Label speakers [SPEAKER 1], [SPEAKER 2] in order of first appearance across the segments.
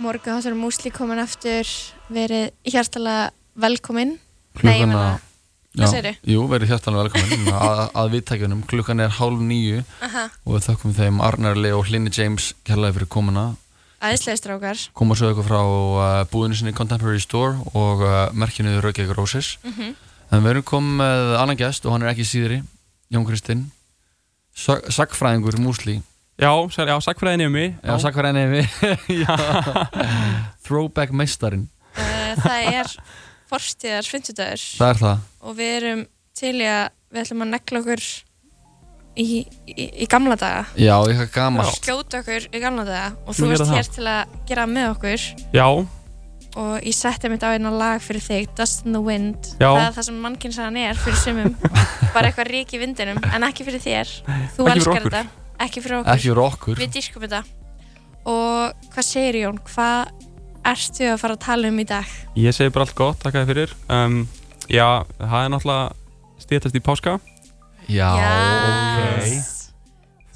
[SPEAKER 1] Morgu Háttur Músli komin aftur verið hjartalega velkominn Nei, ég
[SPEAKER 2] Klukkan
[SPEAKER 1] meina
[SPEAKER 2] að-
[SPEAKER 1] Hvað segirðu?
[SPEAKER 2] Jú, verið hjartanlega velkomin að, að viðtækjunum. Klukkan er hálf nýju
[SPEAKER 1] Aha.
[SPEAKER 2] og við þökkum þeim Arnarli og Hlinni James kærlega fyrir komuna.
[SPEAKER 1] Æðislega strákar
[SPEAKER 2] Koma svo ykkur frá uh, búðinu sinni Contemporary Store og uh, merkinu Raukeik Roses.
[SPEAKER 1] Mhm.
[SPEAKER 2] En við erum komið með annan gest og hann er ekki síðri, Jón Kristinn. Sa- Sagnfræðingur Músli.
[SPEAKER 3] Já, sér, já, sagfræðin er mig
[SPEAKER 2] Já, sagnfræðinni er við. Já. Throwback meistarin.
[SPEAKER 1] uh, Það er forstíðar 50 dagur
[SPEAKER 2] Það er það.
[SPEAKER 1] og við erum til í að við ætlum að negla okkur í, í, í gamla daga
[SPEAKER 2] Já, eitthvað gamalt.
[SPEAKER 1] skjóta okkur í gamla daga og
[SPEAKER 3] Skulum
[SPEAKER 1] þú ert
[SPEAKER 3] gera það.
[SPEAKER 1] hér til að gera það með okkur
[SPEAKER 3] Já,
[SPEAKER 1] og ég setti mitt á eina lag fyrir þig Dust in the Wind
[SPEAKER 3] Já.
[SPEAKER 1] það er það sem mannkynnsagan er fyrir sumum bara eitthvað rík í vindinum en ekki fyrir þér þú
[SPEAKER 3] Ekki fyrir
[SPEAKER 1] elskar
[SPEAKER 3] okkur.
[SPEAKER 1] þetta ekki fyrir okkur
[SPEAKER 2] Ekki fyrir okkur.
[SPEAKER 1] við diskum þetta og hvað segir Jón, hvað ertu að fara að tala um í dag
[SPEAKER 3] ég segi bara allt gott, takk að þið fyrir um, Já, það er náttúrulega stýttast í páska
[SPEAKER 2] Já, ok.
[SPEAKER 1] Yes.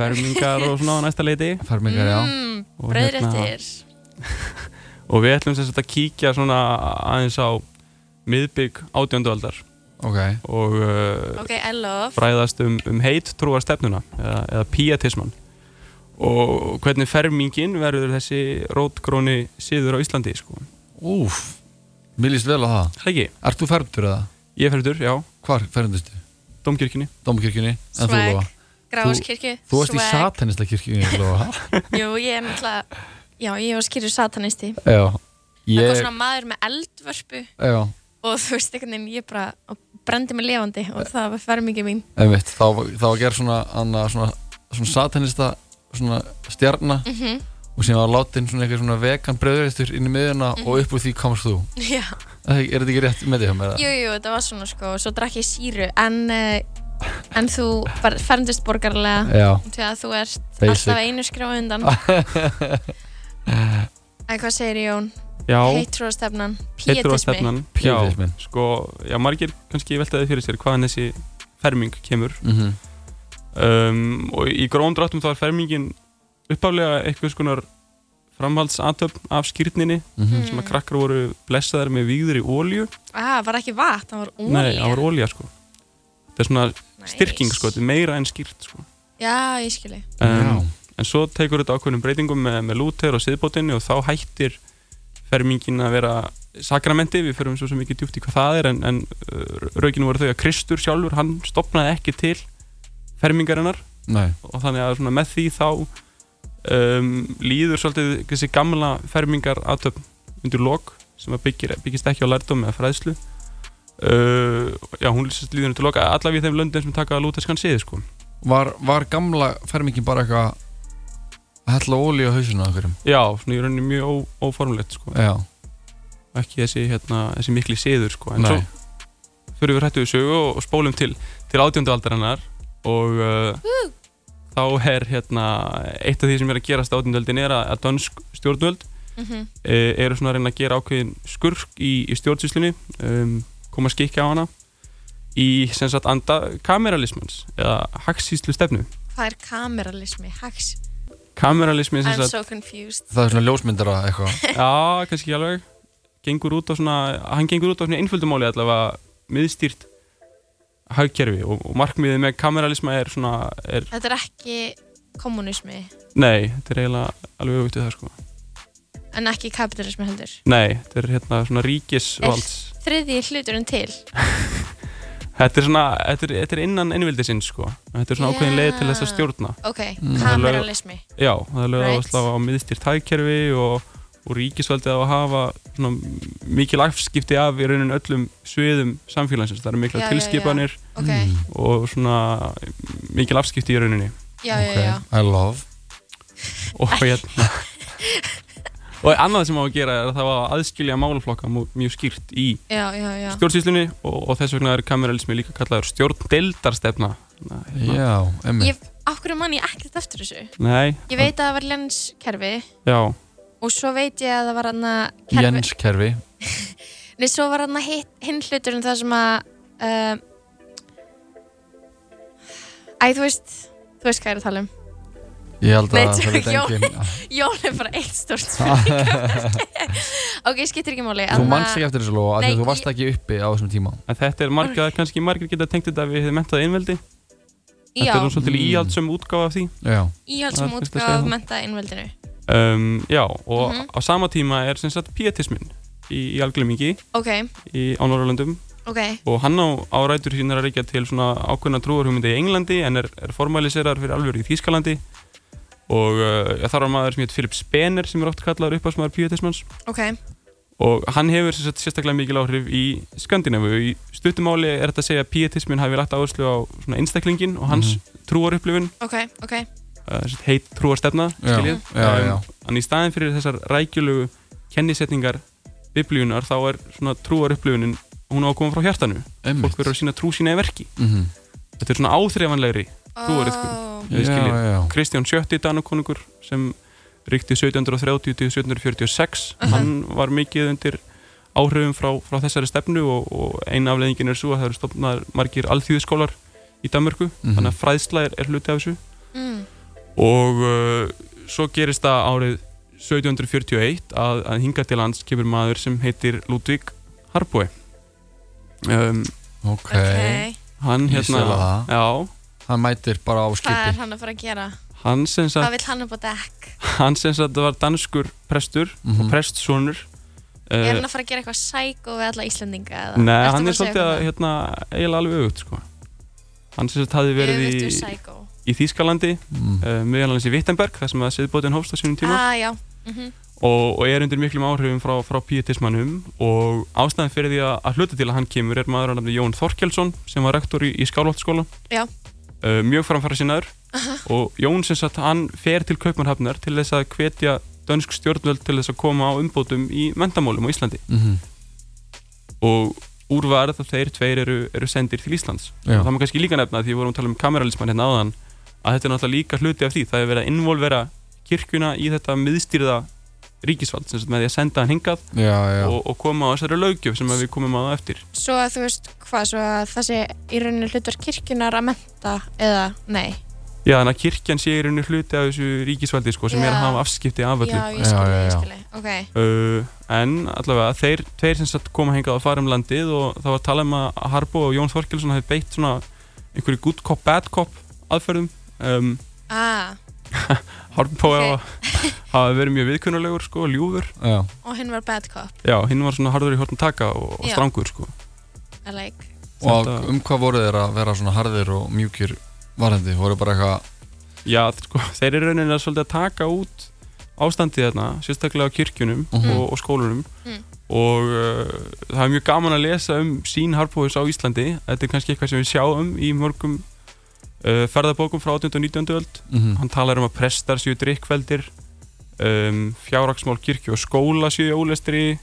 [SPEAKER 3] Fermingar og svona á næsta leiti
[SPEAKER 2] Fermingar, já. hérna-
[SPEAKER 1] mm,
[SPEAKER 3] Og hérna-
[SPEAKER 1] brauðréttir
[SPEAKER 3] Og við ætlum sem sagt að kíkja svona aðeins á miðbygg átjöndualdar
[SPEAKER 2] Ok.
[SPEAKER 3] og uh,
[SPEAKER 1] ok, I love
[SPEAKER 3] fræðast um, um heit trúarstefnuna eða, eða píatisman og hvernig fermingin verður þessi rótgróni síður á Íslandi sko.
[SPEAKER 2] Úf, mér líst vel á það.
[SPEAKER 3] Það ekki?
[SPEAKER 2] Ert þú fermdur eða?
[SPEAKER 3] Ég ferður, já,
[SPEAKER 2] Hvar fermdustu?
[SPEAKER 3] Dómkirkjunni
[SPEAKER 2] Dómkirkjunni? En þú,
[SPEAKER 1] Swag.
[SPEAKER 2] Lóa?
[SPEAKER 1] gráðskirkju,
[SPEAKER 2] Þú varst í satanista kirkjunni, Lóa.
[SPEAKER 1] jú, ég er náttúrulega já, ég var skýrur satanisti
[SPEAKER 2] já.
[SPEAKER 1] það
[SPEAKER 2] Ég,
[SPEAKER 1] var svona maður með eldvörpu
[SPEAKER 2] já,
[SPEAKER 1] og þú veist einhvern veginn, ég bara og brendi mig levandi og það var fermingi mín
[SPEAKER 2] einmitt. Þá, var- þá var gerð svona, anna, svona, svona satanista svona stjarna
[SPEAKER 1] Mhm.
[SPEAKER 2] og sem var látin svona eitthvað svona vegan bröðuristur inn í miðuna
[SPEAKER 1] Mhm.
[SPEAKER 2] og upp úr því komst þú.
[SPEAKER 1] já,
[SPEAKER 2] Er þetta ekki rétt með því hjá mér? eða?
[SPEAKER 1] jú, jú, það var svona sko og svo drakk ég síru en, eh, en þú bara fermdist borgarlega
[SPEAKER 2] Já.
[SPEAKER 1] því að þú ert
[SPEAKER 2] Basic.
[SPEAKER 1] alltaf einu skrá undan
[SPEAKER 3] Ah.
[SPEAKER 1] en hvað segir Jón?
[SPEAKER 3] Já,
[SPEAKER 1] heitrúastefnan, pietismi
[SPEAKER 3] heitrúarstefnan,
[SPEAKER 2] Pietismi.
[SPEAKER 3] Já, sko, já, margir kannski veltaði fyrir sér hvaðan þessi ferming kemur
[SPEAKER 2] Mhm.
[SPEAKER 3] um, og í gróðum dráttum þá er fermingin uppaflega eitthvað skonar framhaldsatöfn af skýrninni
[SPEAKER 2] Mhm.
[SPEAKER 3] sem að krakkar voru blessaðar með výður í ólju
[SPEAKER 1] ah, var ekki vatn, það var ólíu
[SPEAKER 3] Nei, það var ólja sko Það er svona
[SPEAKER 1] Nice.
[SPEAKER 3] styrking sko, þetta er meira en skýrt sko
[SPEAKER 1] já, ég skilji
[SPEAKER 2] Já.
[SPEAKER 3] um, En svo tekur þetta ákveðnum breytingum með, með Luther og siðbótinni og þá hættir fermingin að vera sakramenti, við förum svo sem ekki djúpt í hvað það er en, en uh, raukinu voru þau að Kristur sjálfur, hann stopnaði ekki til fermingarinnar
[SPEAKER 2] Nei.
[SPEAKER 3] og þannig að svona með því þá um, líður svolítið þessi gamla fermingar aðtöfn undir lok sem að byggir, byggist ekki á lærdóm eða fræðslu uh, já, hún sérst líður undir lok allavega í þeim löndin sem taka að lúta skan siði sko.
[SPEAKER 2] Var, var gamla fermingin bara eitthvað að hella ólíu á hausinu á einhverjum?
[SPEAKER 3] já, svona í rauninni mjög ó, óformlegt sko.
[SPEAKER 2] Já.
[SPEAKER 3] ekki þessi, hérna, þessi mikli siður sko. en
[SPEAKER 2] Nei.
[SPEAKER 3] svo fyrir við hrættu við sögu og, og spólum til, til átjöndu aldarinnar og uh, þá er hérna eitt af því sem er að gerast átjöndöldin er að, að dönsk stjórnvöld
[SPEAKER 1] mm
[SPEAKER 3] uh, eru svona að reyna að gera ákveðin skurk í, í stjórnsýslunni um, koma að skikja á hana í sem sagt anda kameralismans eða hagsýslu stefnu
[SPEAKER 1] hvað er kameralismi, hax
[SPEAKER 3] kameralismi sem
[SPEAKER 1] I'm
[SPEAKER 3] sagt,
[SPEAKER 1] so confused
[SPEAKER 2] Það er svona ljósmyndara eitthvað.
[SPEAKER 3] já, kannski ekki alveg gengur út á svona, hann gengur út á svona einföldumáli allavega miðstýrt hagkerfi og, og markmiðið með kameralisma er svona, er,
[SPEAKER 1] þetta er ekki kommunismi
[SPEAKER 3] nei, þetta er eiginlega alveg auðvitað það sko,
[SPEAKER 1] en ekki kapitalismi heldur
[SPEAKER 3] nei, þetta er hérna svona ríkisvalds
[SPEAKER 1] þriðji hluturinn til
[SPEAKER 3] þetta er svona, þetta er, þetta er innan einvildið sinn sko, þetta er svona ákveðin leið til þess að
[SPEAKER 1] Já.
[SPEAKER 3] stjórna
[SPEAKER 1] ok,
[SPEAKER 2] Mm.
[SPEAKER 1] kameralismi
[SPEAKER 3] Já, það er lögð
[SPEAKER 1] Right.
[SPEAKER 3] áherslu á miðstýrt hægkerfi og, og ríkisvaldið á að hafa svona, mikil afskipti af í raunin öllum sviðum samfélagsins. Það eru mikla
[SPEAKER 1] Já, já, já.
[SPEAKER 3] tilskipanir
[SPEAKER 1] ok,
[SPEAKER 3] og svona mikil afskipti í rauninni.
[SPEAKER 1] já, já, já
[SPEAKER 2] I love.
[SPEAKER 3] Og, hérna, og annað sem á að gera er að það var að aðskilja málaflokka mú- mjög skýrt í
[SPEAKER 1] já, já, já,
[SPEAKER 3] stjórnsýslunni og, og þess vegna er kameralismi líka kallaður stjórndeildarstefna. Nei, hérna.
[SPEAKER 2] Já, emmi.
[SPEAKER 1] ég, af hverju mann ég ekkert eftir þessu
[SPEAKER 3] Nei,
[SPEAKER 1] ég veit að það var lenskerfi
[SPEAKER 3] já,
[SPEAKER 1] og svo veit ég að það var hann kerfi
[SPEAKER 2] Jens kerfi.
[SPEAKER 1] Nei, svo var hann hitt hinn hluturinn það sem að uh, Æ, þú veist Þú veist hvað ég er að tala um
[SPEAKER 2] Ég held
[SPEAKER 1] Nei,
[SPEAKER 2] að það veit
[SPEAKER 1] Jón-
[SPEAKER 2] engin
[SPEAKER 1] Jón er bara eitt stórt spurningamerki. ok, skiptir ekki máli
[SPEAKER 2] Þú
[SPEAKER 1] Anna-
[SPEAKER 2] manst ekki eftir þessu lóa
[SPEAKER 1] Nei,
[SPEAKER 2] Þegar þú
[SPEAKER 1] ég-
[SPEAKER 2] varst ekki uppi á þessum tíma
[SPEAKER 3] En þetta er margir, kannski margir geta tengt þetta við hefði mentað einveldi.
[SPEAKER 1] Já,
[SPEAKER 3] Þetta er nú svolítið
[SPEAKER 2] Mm.
[SPEAKER 3] íhaldsum útgáfa af því.
[SPEAKER 2] Já,
[SPEAKER 1] íhaldsum
[SPEAKER 3] Það er fyrst að segja
[SPEAKER 1] útgáð
[SPEAKER 3] það.
[SPEAKER 1] menta innveldinu
[SPEAKER 3] Um, já, og
[SPEAKER 1] Mhm.
[SPEAKER 3] á sama tíma er sem sagt pietismin í, í alglemingi
[SPEAKER 1] Ok,
[SPEAKER 3] í, á Norrlöndum
[SPEAKER 1] ok,
[SPEAKER 3] og hann á árætur sínar að reykja til svona ákveðna trúarhugmyndi í Englandi en er, er formaliserar fyrir alveg í Þýskalandi og uh, já, þar var maður sem heit Philip Spener sem er oft kallar uppásmaður pietismans
[SPEAKER 1] ok
[SPEAKER 3] og hann hefur sem sagt, sérstaklega mikil áhrif í Skandinavu í stuttumáli er þetta að segja að pietismin hafi lagt áherslu á svona einstaklingin og hans mm
[SPEAKER 2] Mhm.
[SPEAKER 3] -hmm. trúarupplifun
[SPEAKER 1] Ok, ok,
[SPEAKER 3] uh, sem sagt, heit trúarstefna
[SPEAKER 2] já,
[SPEAKER 3] skiljið Um,
[SPEAKER 2] já, já.
[SPEAKER 3] en í staðin fyrir þessar rækjulegu kennisetningar biblíunar þá er svona trúarupplifunin hún á að koma frá hjartanu fólk
[SPEAKER 2] Einmitt.
[SPEAKER 3] verður að sína trú sína í verki
[SPEAKER 2] Mhm.
[SPEAKER 3] þetta er svona áþreifanlegri
[SPEAKER 1] oh,
[SPEAKER 3] Trúariðkun.
[SPEAKER 2] Já,
[SPEAKER 3] Ég skil ég.
[SPEAKER 2] já,
[SPEAKER 3] Kristján VII Danakonungur sem ríkti 1730 til 1746
[SPEAKER 1] Mhm.
[SPEAKER 3] hann var mikið undir áhrifum frá, frá þessari stefnu og, og eina afleðingin er svo að það eru stofnaðar margir alþjóðskólar í Danmörku
[SPEAKER 2] Mhm.
[SPEAKER 3] þannig að fræðsla er, er hluti af þessu
[SPEAKER 1] mm,
[SPEAKER 3] og uh, svo gerist það árið 1741 að, að hinga til lands kemur maður sem heitir Ludvig Harbúi um,
[SPEAKER 2] Mhm. ok
[SPEAKER 1] ok,
[SPEAKER 3] hann
[SPEAKER 2] Ég sé það.
[SPEAKER 3] hérna já,
[SPEAKER 2] Hann mætir bara á
[SPEAKER 1] hvað er
[SPEAKER 2] skipi
[SPEAKER 1] hann að fara að gera?
[SPEAKER 3] hann sem sagt
[SPEAKER 1] Hvað vill hann upp á dekk?
[SPEAKER 3] hann sem sagt var danskur prestur og
[SPEAKER 2] Mhm.
[SPEAKER 3] prestsonur
[SPEAKER 1] Er
[SPEAKER 3] uh,
[SPEAKER 1] hann að fara að gera eitthvað sækó við alla Íslendinga? eða?
[SPEAKER 3] Nei,
[SPEAKER 1] Ertu bara
[SPEAKER 3] hann er
[SPEAKER 1] að segja
[SPEAKER 3] svolítið að
[SPEAKER 1] eitthvað?
[SPEAKER 3] hérna, eiginlega alveg auðvögt sko. Hann sem sagt hafi verið
[SPEAKER 1] Öfugt
[SPEAKER 3] í,
[SPEAKER 1] við sækó
[SPEAKER 3] í Þýskalandi
[SPEAKER 2] Mm.
[SPEAKER 3] uh, meðalannis í Wittenberg, þar sem að siðbótin hófst á sínum tíma
[SPEAKER 1] Ah, já mhm,
[SPEAKER 3] og, og er undir miklum áhrifum frá, frá pietismannum og ástæðan fyrir því að, að hluta til að hann kemur er maður að nafni Jón Þorkelsson sem var rektor í, í Skálholtskóla
[SPEAKER 1] Já.
[SPEAKER 3] uh, mjög framfæra sinnaður og Jón sem sagt hann fer til Kaupmannhafnar til þess að hvetja dönsk stjórnvöld til þess að koma á umbótum í mentamálum á Íslandi
[SPEAKER 2] Mhm.
[SPEAKER 3] og úr varð að þeir tveir eru, eru sendir til Íslands
[SPEAKER 2] Já.
[SPEAKER 3] og það má kannski líka nefna því við vorum að tala um kameralismann hérna áðan að þetta er náttúrulega líka hluti af því það er verið að involvera kirkjuna í þetta miðstýrða ríkisvald sem sagt með því að senda hann hingað
[SPEAKER 2] Já, já
[SPEAKER 3] og, og koma á þessari lögjöf sem að við komum að á eftir
[SPEAKER 1] Svo að þú veist hvað, svo að það sé í rauninni hlutverk kirkjunar að menta eða nei
[SPEAKER 3] Já, þannig að kirkjan sé í rauninu hluti af þessu ríkisvaldi sko, sem er
[SPEAKER 1] Já.
[SPEAKER 3] að hafa afskipti af öllu
[SPEAKER 1] Já, ég skilji,
[SPEAKER 2] Já, já,
[SPEAKER 1] ég
[SPEAKER 2] já.
[SPEAKER 1] skilji Ok,
[SPEAKER 3] uh, en allavega þeir tveir sem satt koma hingað að fara um landið og það var að tala um að Harbo og Jón Þorkelsson hafi beitt svona einhverju good cop, bad cop aðferðum um,
[SPEAKER 1] ah,
[SPEAKER 3] Harbo
[SPEAKER 1] Ok.
[SPEAKER 3] hafi verið mjög viðkunnulegur sko, ljúfur
[SPEAKER 2] Já,
[SPEAKER 1] og hinn var bad cop
[SPEAKER 3] já, hinn var svona harður í hortn taka og, og
[SPEAKER 1] Já.
[SPEAKER 3] strangur sko.
[SPEAKER 1] I like
[SPEAKER 2] og
[SPEAKER 3] Þetta-
[SPEAKER 2] um hvað voru þeir að vera svona harðir og mjúkir varðandi, voru bara eitthvað
[SPEAKER 3] já, þ- sko, þeir eru rauninni að svolítið að taka út ástandið þarna, sérstaklega á kirkjunum
[SPEAKER 2] Mhm.
[SPEAKER 3] og, og skólunum
[SPEAKER 1] Mm.
[SPEAKER 3] og uh, það er mjög gaman að lesa um sín Harbois á Íslandi þetta er kannski eitthvað sem við sjáum í mörgum uh, ferðabókum frá 18. og 19. öld
[SPEAKER 2] Mhm.
[SPEAKER 3] hann talar um að prestar séu drikkveldir um, fjárhagsmál kirkju og skóla séu í ólestri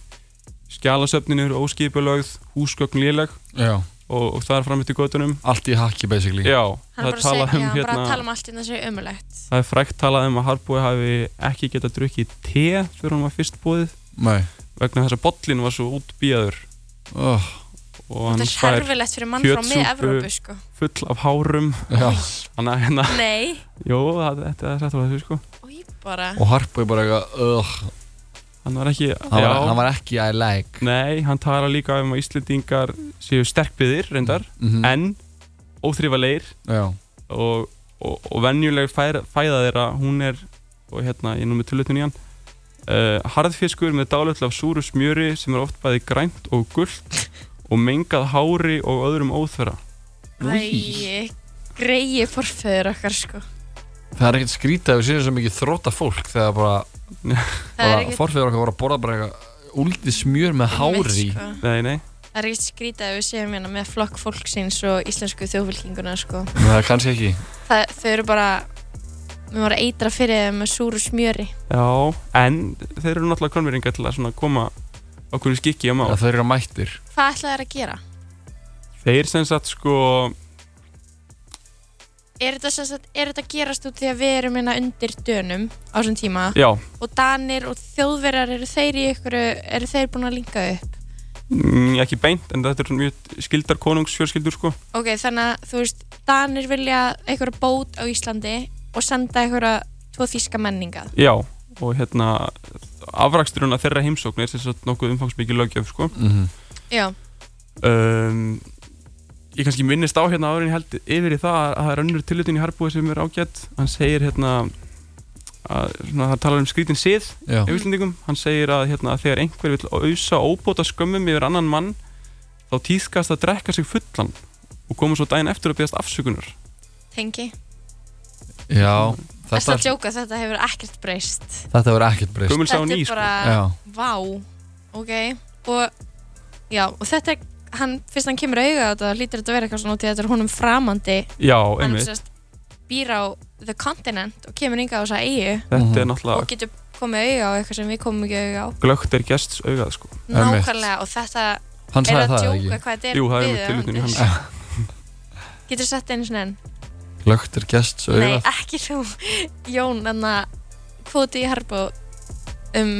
[SPEAKER 3] skjálasöfninur, óskipulögð húsgögn léleg
[SPEAKER 2] Já,
[SPEAKER 3] og, og það er fram eftir götunum
[SPEAKER 2] allt í haki basically
[SPEAKER 3] Já,
[SPEAKER 1] Hann
[SPEAKER 3] það
[SPEAKER 1] bara,
[SPEAKER 3] tala
[SPEAKER 1] seg,
[SPEAKER 3] um
[SPEAKER 1] já, hann bara
[SPEAKER 3] hérna-
[SPEAKER 1] tala um allt innan sem er ömulegt
[SPEAKER 3] Það er frækt talað um að Harbúi hafi ekki getað drukkið te fyrir hann var fyrst búið
[SPEAKER 2] Nei,
[SPEAKER 3] vegna þess að bollin var svo útbíjaður
[SPEAKER 2] oh,
[SPEAKER 3] og hann
[SPEAKER 1] Þetta er
[SPEAKER 3] fær
[SPEAKER 1] herfilegt fyrir mann frá
[SPEAKER 3] kjötsúpu.
[SPEAKER 1] mið-Evrópu sko.
[SPEAKER 3] full af hárum
[SPEAKER 2] já
[SPEAKER 3] Þannig að hérna,
[SPEAKER 1] Nei,
[SPEAKER 3] jú, það- þetta er sætt á þessu sko
[SPEAKER 1] og ég bara
[SPEAKER 2] Og Harpo er bara eitthvað, ugh,
[SPEAKER 3] Hann var ekki,
[SPEAKER 2] hann, var- hann
[SPEAKER 3] já,
[SPEAKER 2] var ekki I like
[SPEAKER 3] nei, hann tala líka um að Íslendingar séu sterkbyðir reyndar
[SPEAKER 2] Mhm.
[SPEAKER 3] en óþrifaleir
[SPEAKER 2] Já,
[SPEAKER 3] og, og, og venjuleg færa, fæða þeirra hún er, og hérna ég er nú með tölutun í hann uh, harðfiskur með dálötla af súru smjöri sem er oft bæði grænt og gullt og mengað hári og öðrum óþverra
[SPEAKER 1] Æi, greiði forföður okkar sko
[SPEAKER 2] það er ekkert skrítið að við séum svo mikið þróta fólk þegar bara,
[SPEAKER 1] Það
[SPEAKER 2] bara
[SPEAKER 1] er ekkert
[SPEAKER 2] forfeður okkar voru að borða bara eitthvað úlítið smjör með hári í.
[SPEAKER 1] mitt, sko.
[SPEAKER 3] Nei, nei,
[SPEAKER 1] Það er ekkert skrítið að við séum hérna með flokk fólksins og íslensku þjóðfylkinguna sko.
[SPEAKER 2] Nei, það er kannski ekki
[SPEAKER 1] Það, þau eru bara við varum að eitra fyrir þeim með súru smjöri
[SPEAKER 3] já, en þeir eru náttúrulega konverðingar til að svona koma okkur skikki á mál
[SPEAKER 2] að þau eru mættir
[SPEAKER 1] Hvað ætlaðu þær að gera?
[SPEAKER 3] Þeir sem sagt sko,
[SPEAKER 1] Er þetta, sem sagt, er þetta að gerast út því að við erum hérna undir dönum á þessum tíma
[SPEAKER 3] já
[SPEAKER 1] og danir og þjóðverjar eru þeir í ykkur eru þeir búin að linga upp
[SPEAKER 3] mm, ekki beint, en þetta er svona mjög skildar konungsfjörskildur sko
[SPEAKER 1] Ok, þannig að þú veist danir vilja ykkur bót á Íslandi og senda ykkur uppbúð þíska menningað.
[SPEAKER 3] Já, og hérna afraksturinn að þeirra heimsókn er sem sagt nokkuð umfangsmikið lögjöf sko.
[SPEAKER 2] Mhm.
[SPEAKER 1] Já,
[SPEAKER 3] um, ég kannski minnist á hérna áður en ég held yfir í það að það er önnur tillutin í Harbúi sem er ágætt hann segir hérna að svona, það talar um skrítin sið
[SPEAKER 2] Já.
[SPEAKER 1] Mhm.
[SPEAKER 3] ef Íslendingum, hann segir að hérna, þegar einhver vill auðsa óbóta skömmum yfir annan mann þá týðkast að drekka sig fullan og koma svo daginn eftir að beðast afsökunar
[SPEAKER 1] tengi.
[SPEAKER 2] Já,
[SPEAKER 1] Þetta
[SPEAKER 2] þetta,
[SPEAKER 1] að djóka, þetta hefur ekkert breyst.
[SPEAKER 2] þetta verður ekkert breyst
[SPEAKER 3] gömul sá
[SPEAKER 1] Þetta
[SPEAKER 3] ný
[SPEAKER 1] er
[SPEAKER 3] sko.
[SPEAKER 1] bara,
[SPEAKER 2] Já,
[SPEAKER 1] vá, ok. Og, já, og þetta er, hann, fyrst hann kemur auga á þetta, lítur þetta að vera eitthvað svona út í að þetta er honum framandi.
[SPEAKER 3] já,
[SPEAKER 1] Hann
[SPEAKER 3] einmitt,
[SPEAKER 1] sérst býr á the continent og kemur yngað á þessa eigu
[SPEAKER 3] þetta er
[SPEAKER 1] og
[SPEAKER 3] náttúrulega
[SPEAKER 1] getur komið auga á eitthvað sem við komum ekki auga á.
[SPEAKER 3] glögt er gests augað sko.
[SPEAKER 2] Einmitt.
[SPEAKER 1] Nákvæmlega, og þetta er
[SPEAKER 2] hann sagði
[SPEAKER 1] að
[SPEAKER 2] það eða
[SPEAKER 1] djóka
[SPEAKER 2] ekki
[SPEAKER 1] hvað þetta er
[SPEAKER 3] jú, það er
[SPEAKER 1] við
[SPEAKER 3] mjög tillutin í
[SPEAKER 1] Andrés.
[SPEAKER 3] hann
[SPEAKER 1] Getur sett einu sinni enn?
[SPEAKER 2] Glögt er gest svo
[SPEAKER 1] Nei,
[SPEAKER 2] auðvitað
[SPEAKER 1] ekki þú Jón, þannig að kvoti í harbú um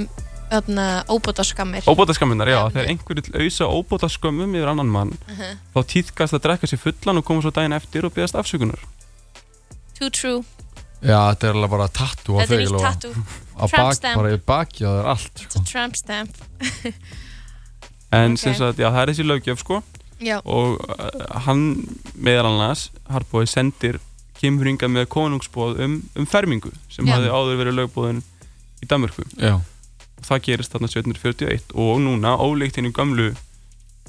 [SPEAKER 1] þarna óbóta skammir
[SPEAKER 3] Óbóta skamminnar, já,
[SPEAKER 1] Já,
[SPEAKER 3] þegar
[SPEAKER 1] nei.
[SPEAKER 3] einhver vill auðsa óbóta skömmum yfir annan mann
[SPEAKER 1] Uh-huh.
[SPEAKER 3] þá týðkast að drekka sér fullan og koma svo daginn eftir og beðast afsökunar
[SPEAKER 1] Too true,
[SPEAKER 2] Já, þetta er alveg bara tattoo á
[SPEAKER 1] þetta er
[SPEAKER 2] þig
[SPEAKER 1] nýtt
[SPEAKER 2] Lóa.
[SPEAKER 1] tattoo
[SPEAKER 2] Á
[SPEAKER 1] Tramp
[SPEAKER 2] bak,
[SPEAKER 1] stamp.
[SPEAKER 2] bara í baki á þér allt
[SPEAKER 1] Þetta
[SPEAKER 2] sko.
[SPEAKER 1] er tramp stamp
[SPEAKER 3] en
[SPEAKER 1] Ok.
[SPEAKER 3] sem sagt, já, það er þessi lögjöf sko
[SPEAKER 1] Já,
[SPEAKER 3] og uh, hann meðal annars, Harbói, sendir kemurringa með konungsbóð um, um fermingu sem
[SPEAKER 1] Já.
[SPEAKER 3] hafði áður verið lögbóðin í Danmörku
[SPEAKER 2] Já,
[SPEAKER 3] og það gerist þarna 1741 og núna, ólíkt henni gömlu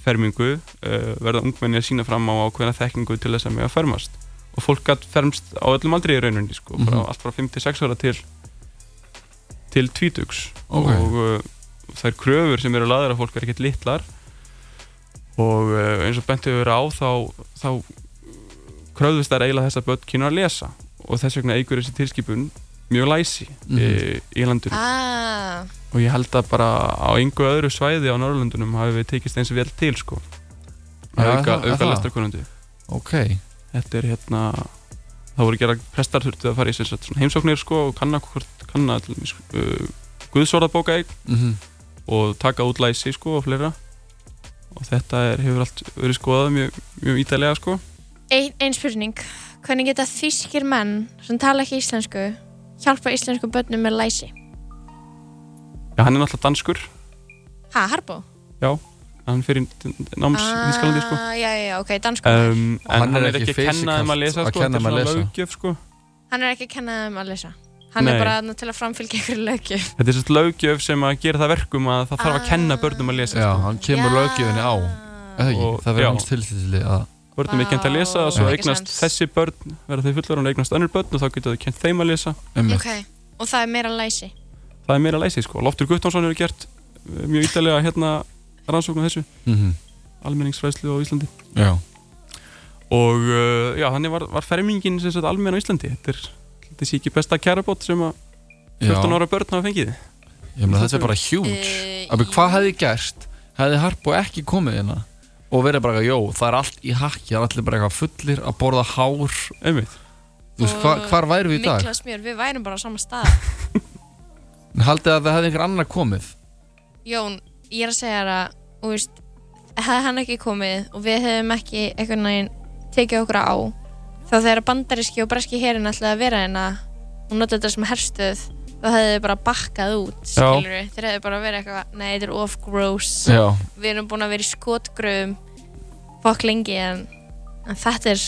[SPEAKER 3] fermingu, uh, verða ungmenni að sína fram á ákveðna þekkingu til þess að mega fermast og fólk gætt fermst á öllum aldrei í rauninni sko, mm
[SPEAKER 2] Mhm.
[SPEAKER 3] allt frá 5-6 ára til til tvítugs
[SPEAKER 2] Ok.
[SPEAKER 3] og uh, þær kröfur sem eru laðar að fólk er ekkert litlar og uh, eins og bentið verið á þá, þá kröfðust þær eiginlega þess að börn kynna að lesa og þess vegna eigur þessi tilskipun mjög læsi mm
[SPEAKER 2] Mhm.
[SPEAKER 3] í landinu
[SPEAKER 1] ah,
[SPEAKER 3] og ég held að bara á einhver öðru svæði á Norrlöndunum hafi við tekist eins vel til sko að
[SPEAKER 2] Já,
[SPEAKER 3] auka,
[SPEAKER 2] það-
[SPEAKER 3] auka
[SPEAKER 2] það.
[SPEAKER 3] lestarkunnandi
[SPEAKER 2] ok
[SPEAKER 3] þetta er hérna það voru gera prestar þurftu að fara í sem sagt, svona heimsóknir sko og kanna, hvort, kanna til dæmis, uh, guðsorðabóka eign
[SPEAKER 2] Mhm.
[SPEAKER 3] og taka út læsi sko og fleira og þetta er, hefur allt verið skoðað mjög, mjög ítalega sko
[SPEAKER 1] ein, ein spurning Hvernig geta þýskir menn sem tala ekki íslensku hjálpa íslensku börnum með læsi?
[SPEAKER 3] Já, hann er náttúrulega danskur
[SPEAKER 1] Ha, harbú?
[SPEAKER 3] hann fyrir náms í Þýskalandi sko
[SPEAKER 1] Ah, já, já, já, ok,
[SPEAKER 2] Ah.
[SPEAKER 1] dansku
[SPEAKER 2] Eh,
[SPEAKER 3] um, en hann, er ekki, að kenna
[SPEAKER 2] fysikalt
[SPEAKER 3] um að lesa
[SPEAKER 2] að
[SPEAKER 3] sko,
[SPEAKER 2] kenna
[SPEAKER 3] þetta er
[SPEAKER 2] þeim að
[SPEAKER 3] svona
[SPEAKER 2] lesa.
[SPEAKER 3] löggjöf sko
[SPEAKER 1] Hann er ekki að kenna þeim að lesa Hann
[SPEAKER 3] Nei.
[SPEAKER 1] er bara þarna til að framfylgja einhverju lögju
[SPEAKER 3] Þetta er svolítið löggjöf sem að gera það verkum að það þarf að
[SPEAKER 1] Ah.
[SPEAKER 3] kenna börnum að lesa.
[SPEAKER 2] Já, hann kemur löggefinni á Eða ekki,
[SPEAKER 3] Og-
[SPEAKER 2] það
[SPEAKER 3] já.
[SPEAKER 2] verður hans tilstilli að
[SPEAKER 3] Börnum er kent að lesa og svo
[SPEAKER 1] Vá, Ah, ekki
[SPEAKER 3] eignast
[SPEAKER 1] sens.
[SPEAKER 3] þessi börn, verða þau fullar og eignast önnur börn og þá geta þau kent þeim að lesa.
[SPEAKER 2] um,
[SPEAKER 1] Ok, og það er meira læsi
[SPEAKER 3] Það er meira að lesa, sko. Loftur Guttonsson hefur gert eh, mjög ítalega hérna rannsóknum þessu,
[SPEAKER 2] mhm.
[SPEAKER 3] almenningsfræslu á Íslandi.
[SPEAKER 2] Já,
[SPEAKER 3] Og uh, já, þannig var, var fermingin sem sagt almenn á Íslandi. Þetta er, þetta sé ekki besta kærabót sem að
[SPEAKER 2] já
[SPEAKER 3] 14 ára börn hafa fengið.
[SPEAKER 2] Ég meina þetta er bara huge
[SPEAKER 1] Eh,
[SPEAKER 2] Abi, hvað hefði gert, hefði Harpo ekki komið hérna og verið bara eitthvað, jó, það er allt í hakki það er allir bara eitthvað fullir að borða hár
[SPEAKER 3] Einmitt.
[SPEAKER 2] þú veist, hva,
[SPEAKER 1] Og
[SPEAKER 2] hvar værum við í dag?
[SPEAKER 1] Mikla smjör, við værum bara á sama stað
[SPEAKER 2] En haldið að það hefði einhver annar komið
[SPEAKER 1] Jón, ég er að segja þér að þú veist, hefði hann ekki komið og við hefðum ekki einhvern veginn tekið okkur á þá þegar bandaríski og breski herin ætlaði að vera hérna og nota þetta sem herstöð þá hefði þau bara bakkað út
[SPEAKER 3] Já.
[SPEAKER 1] skilur við, þeir hefði bara verið eitthvað nei, þetta er off gross
[SPEAKER 2] Já,
[SPEAKER 1] við erum búin að vera í skotgröfum fokk lengi en, en þetta er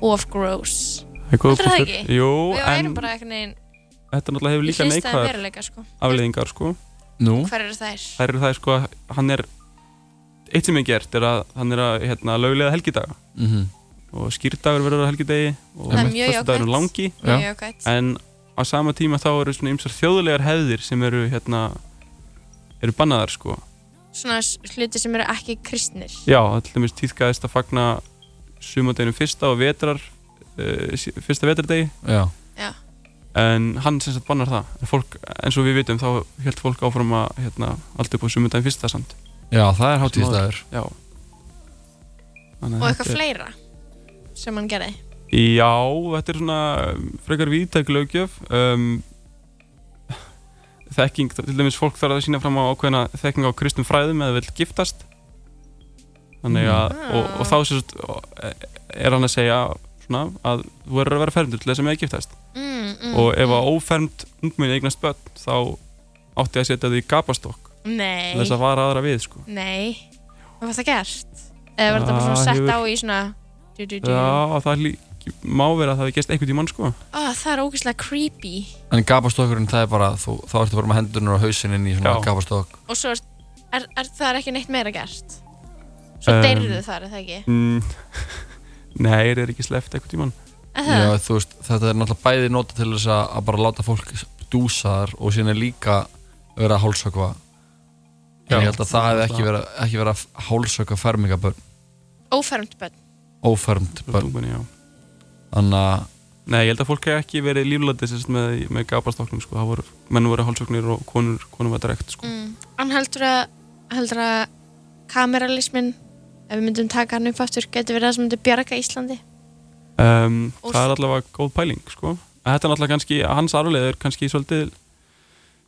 [SPEAKER 1] off gross Heldur það ekki?
[SPEAKER 3] Jú,
[SPEAKER 1] við
[SPEAKER 3] en
[SPEAKER 1] værum bara einhvern veginn
[SPEAKER 3] þetta náttúrulega hefur líka
[SPEAKER 1] í hlistaðum
[SPEAKER 3] neikvæðar
[SPEAKER 1] veruleika sko.
[SPEAKER 3] afleiðingar, sko.
[SPEAKER 2] nú,
[SPEAKER 1] hver eru þær?
[SPEAKER 3] þær eru það sko að hann er eitt sem er gert er að hann er að hérna, löglega helgidaga
[SPEAKER 2] mhm,
[SPEAKER 3] og skýrdagur verður að helgidegi og
[SPEAKER 1] Það er mjög
[SPEAKER 3] föstudagur er
[SPEAKER 1] jákvætt.
[SPEAKER 3] langi
[SPEAKER 2] Já.
[SPEAKER 1] mjög ákvæmt
[SPEAKER 3] en á sama tíma þá eru svona ymsar þjóðlegar hefðir sem eru hérna eru bannaðar sko
[SPEAKER 1] svona s- hluti sem eru ekki kristnir
[SPEAKER 3] já, allir mér týðkaðist að fagna sumandeginum fyrsta og vetrar uh, sí- fyrsta vetardegi
[SPEAKER 2] já
[SPEAKER 3] en hann sem sagt bannar það en fólk, eins og við vitum þá held fólk áfram að hérna, aldrei búið sumandegin fyrsta samt
[SPEAKER 2] Já, það er hátíðstæður
[SPEAKER 3] já
[SPEAKER 1] og eitthvað fleira sem hann gerði
[SPEAKER 3] Já, þetta er svona um, frekar víðtæk lögjöf um, þekking, til dæmis fólk þarf að sína fram á ákveðina þekking á kristum fræðum eða vill giftast þannig að,
[SPEAKER 1] Mm.
[SPEAKER 3] og, og þá sérst, er hann að segja svona, að þú verður að vera fermdur til þess að með giftast
[SPEAKER 1] mm. mm,
[SPEAKER 3] og ef að ófermt ungmenni eignast börn þá átti að setja þau í gapastokk til
[SPEAKER 1] Nei,
[SPEAKER 3] þess að vara aðra við sko.
[SPEAKER 1] nei Hvað var það gert? Eða var
[SPEAKER 3] Já,
[SPEAKER 1] þetta bara svona sett á
[SPEAKER 3] Ah, hefur-
[SPEAKER 1] í svona du, du, du.
[SPEAKER 3] Já, það er líka má vera að það hefði gæst einhvern tímann sko.
[SPEAKER 1] Ó, það er ógeðslega creepy
[SPEAKER 2] En gapastokkurinn, það er bara, þú, þá ertu bara með hendurinn og hausinn inn í svona
[SPEAKER 3] Já.
[SPEAKER 2] gapastokk.
[SPEAKER 1] Og svo er, er, er það er ekki neitt meira gert Svo
[SPEAKER 3] Um,
[SPEAKER 1] um, deyrðu þar, er það ekki?
[SPEAKER 3] mm, Nei, það er ekki sleppt einhvern tímann
[SPEAKER 1] Er það?
[SPEAKER 2] Já, þú veist, þetta er náttúrulega bæði nota til þess að, að bara láta fólk dúsa þar og síðan er líka vera að hálsökva. En
[SPEAKER 3] Já.
[SPEAKER 2] ég held að það hefði ekki verið ekki verið að hálsökva fermingabörn,
[SPEAKER 1] Ófermt börn
[SPEAKER 2] ófermt
[SPEAKER 3] Börn.
[SPEAKER 2] börn.
[SPEAKER 3] Ungmenni, já.
[SPEAKER 2] Þannig að
[SPEAKER 3] Nei, ég held að fólk hef ekki verið líflæti sérst, með, með gapastokknum sko. Það voru, menn voru hálsóknir og konur, konur var drekt sko.
[SPEAKER 1] mm. En heldur að, heldur að kameralismin ef við myndum taka hann upp aftur getur verið það sem myndi bjarga Íslandi
[SPEAKER 3] um,
[SPEAKER 1] Og
[SPEAKER 3] Það
[SPEAKER 1] s-
[SPEAKER 3] er allavega góð pæling sko. En Þetta er náttúrulega kannski, hans arfleið er kannski svolítið,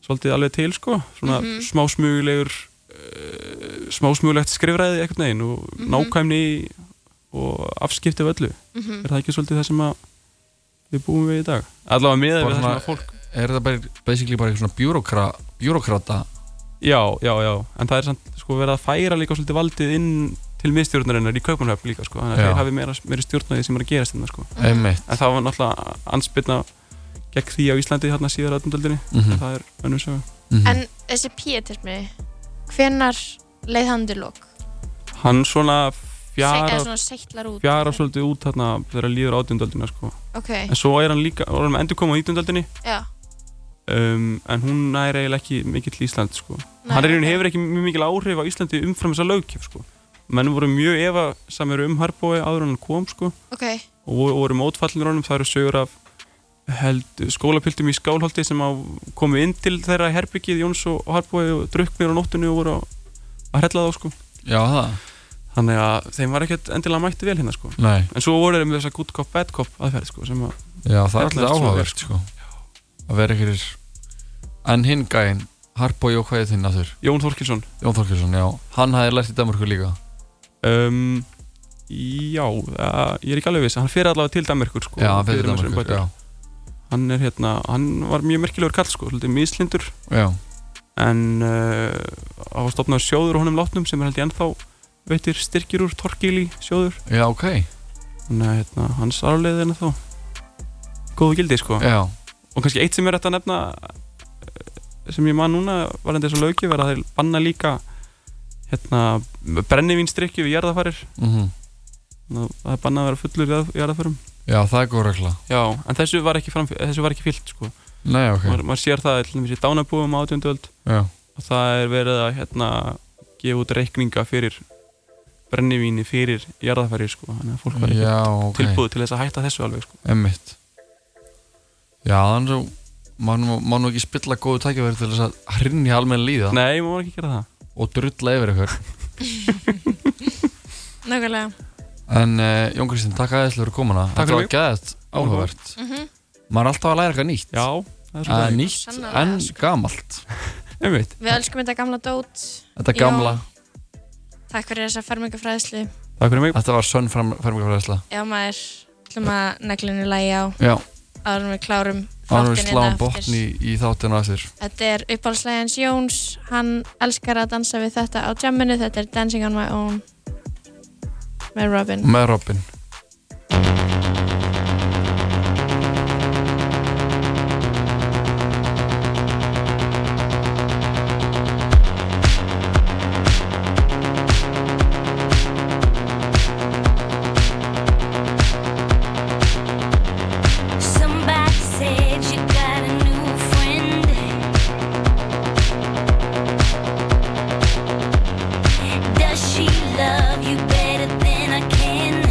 [SPEAKER 3] svolítið alveg til sko. svona mm
[SPEAKER 1] Mhm.
[SPEAKER 3] smásmugulegur uh, smásmugulegt skrifræði einhvern veginn og
[SPEAKER 1] Mhm.
[SPEAKER 3] nákvæmni og afskipti af öllu
[SPEAKER 1] mm
[SPEAKER 3] Er það ekki svolítið það sem að við búum við í dag? Allavega miðað við
[SPEAKER 2] Bara
[SPEAKER 3] það sem
[SPEAKER 2] svona-
[SPEAKER 3] að fólk
[SPEAKER 2] er þetta bara, basically bara eitthvað svona bjúrókra, bjúrókrata
[SPEAKER 3] Já, já, já, en það er samt sko verið að færa líka svolítið valdið inn til miðstjórnarinnar í Kaupanhöfn líka sko þannig að
[SPEAKER 2] Já.
[SPEAKER 3] þeir hafi meira, meira stjórnaðið sem er að gerast hérna sko
[SPEAKER 1] Mhm.
[SPEAKER 2] einmitt
[SPEAKER 3] en það var náttúrulega anspilna gegn því á Íslandi hérna síðar aðnumdöldinni
[SPEAKER 2] mm
[SPEAKER 3] en það er önnur sögu
[SPEAKER 2] mhm.
[SPEAKER 1] En þessi píetismi hvenar leið hann til lok?
[SPEAKER 3] Hann svona
[SPEAKER 1] Fjara, eða
[SPEAKER 3] fjara,
[SPEAKER 1] svona seitlar út
[SPEAKER 3] fjara svolítið út hérna þegar líður átjöndöldina sko
[SPEAKER 1] Ok,
[SPEAKER 3] en svo er hann líka, var hann með endur koma á ítjöndöldinni
[SPEAKER 1] já
[SPEAKER 3] um, en hún nær eiginlega ekki mikill Ísland sko
[SPEAKER 1] Nei,
[SPEAKER 3] hann er í raun
[SPEAKER 1] ok.
[SPEAKER 3] hefur ekki mjög mikil áhrif á Íslandi umfram þessa lögkjöf sko menn voru mjög efa um Harbói áður en hann kom sko
[SPEAKER 1] Ok,
[SPEAKER 3] og voru- voru mótfallinur honum, það eru sögur af held skólapiltum í Skálholti sem á, komu inn til þeirra í herbyggið Jóns og og Harbúi og druknir á nóttunni og voru á- að hrella þá sko
[SPEAKER 2] já það,
[SPEAKER 3] þannig að þeim var ekkert endilega mætti vel hérna sko
[SPEAKER 2] nei,
[SPEAKER 3] en svo voru þeir með þessa good cop, bad cop aðferð sko sem að,
[SPEAKER 2] já það er
[SPEAKER 3] Þetta
[SPEAKER 2] alltaf
[SPEAKER 3] er svona verk,
[SPEAKER 2] áhugavert sko að vera ykkur en hinn gæinn, Harpo Jókvæði þinn að þurr
[SPEAKER 3] Jón Þorkilsson
[SPEAKER 2] Jón Þorkilsson, já, hann hafði lært í Danmarku líka
[SPEAKER 3] um, já, uh, ég er ekki alveg viss hann fyrir allavega til Danmarkur sko
[SPEAKER 2] já, hann fyrir
[SPEAKER 3] fyrir með sér
[SPEAKER 2] Danmarku,
[SPEAKER 3] umbætur.
[SPEAKER 2] já,
[SPEAKER 3] hann er hérna, hann var mjög merkilegur kall sko, svolítið mislindur
[SPEAKER 2] já
[SPEAKER 3] en uh, það var stopnað sjóður á honum látnum sem er held ég ennþá veitir styrkir úr Torkili sjóður
[SPEAKER 2] já, ok,
[SPEAKER 3] Ah. þannig að hérna, hans arfleið er ennþá góðu gildi sko
[SPEAKER 2] já,
[SPEAKER 3] og kannski eitt sem er þetta að nefna eh, sem ég man núna varandi þessu lögjöf er að þeir banna líka hérna, brennivínstrykju við jarðafarir
[SPEAKER 2] mhm
[SPEAKER 3] Þannig að það er bannað að vera fullur í jarð- jarðaförum
[SPEAKER 2] já, það er góð regla
[SPEAKER 3] já, en þessu var ekki, framf- þessu var ekki fyllt sko.
[SPEAKER 2] nei, ok,
[SPEAKER 3] maður maður sér það til dæmis í dánabúum á átjönduöld
[SPEAKER 2] já,
[SPEAKER 3] að það er verið að hérna, gefa út reikninga fyrir brennivíni fyrir jarðafæri sko. þannig að fólk var ekki
[SPEAKER 2] já, ok
[SPEAKER 3] tilbúið til þess að hætta þessu alveg sko.
[SPEAKER 2] Emmitt Já, þannig að má nú- má nú ekki spilla góðu tækjaværi til þess að hrinja almenn líða
[SPEAKER 3] nei, maður var ekki að gera það
[SPEAKER 2] og drulla yfir ykkur
[SPEAKER 1] nákvæmlega
[SPEAKER 2] En uh, Jón Kristinn, takk aðeins fyrir komuna
[SPEAKER 3] Takk
[SPEAKER 2] Þetta
[SPEAKER 3] fyrir
[SPEAKER 2] var
[SPEAKER 3] mig.
[SPEAKER 2] gæðið áhugavert
[SPEAKER 1] mm
[SPEAKER 2] Maður er alltaf að læra eitthvað nýtt
[SPEAKER 3] já, það er
[SPEAKER 2] Eh,
[SPEAKER 3] svolítið
[SPEAKER 2] Nýtt
[SPEAKER 1] Sannarlega,
[SPEAKER 2] en
[SPEAKER 1] sko.
[SPEAKER 2] gamalt
[SPEAKER 3] einmitt,
[SPEAKER 1] Við elskum þetta gamla dót
[SPEAKER 2] Þetta
[SPEAKER 1] Já.
[SPEAKER 2] gamla,
[SPEAKER 1] Takk fyrir þessa fermingafræðslu
[SPEAKER 3] takk fyrir mig
[SPEAKER 2] þetta var sönn fermingafræðisla
[SPEAKER 1] Já maður, ætlum að neglinni lægi á
[SPEAKER 2] Já,
[SPEAKER 1] áður en við klárum
[SPEAKER 2] ánum við
[SPEAKER 1] þáttinn
[SPEAKER 2] sláum
[SPEAKER 1] hérna aftur.
[SPEAKER 2] botn í, í þáttinu að þér
[SPEAKER 1] Þetta er uppáhaldslægjans Jóns Hann elskar að dansa við þetta á jamminu Þetta er Dancing on my own með Robin
[SPEAKER 2] Með Robin
[SPEAKER 4] Somebody said you got a new friend. Does she love you better than I can?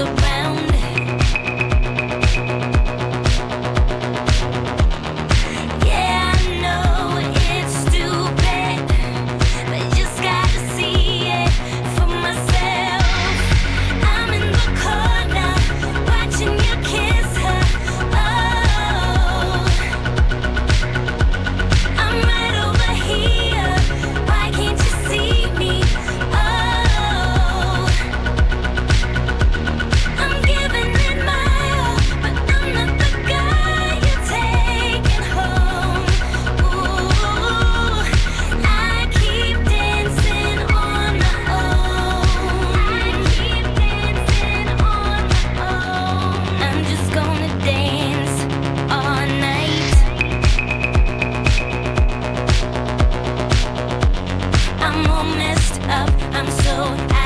[SPEAKER 4] Oh, Oh. I'm so Oh. Oh. Oh. oh, Oh. Oh.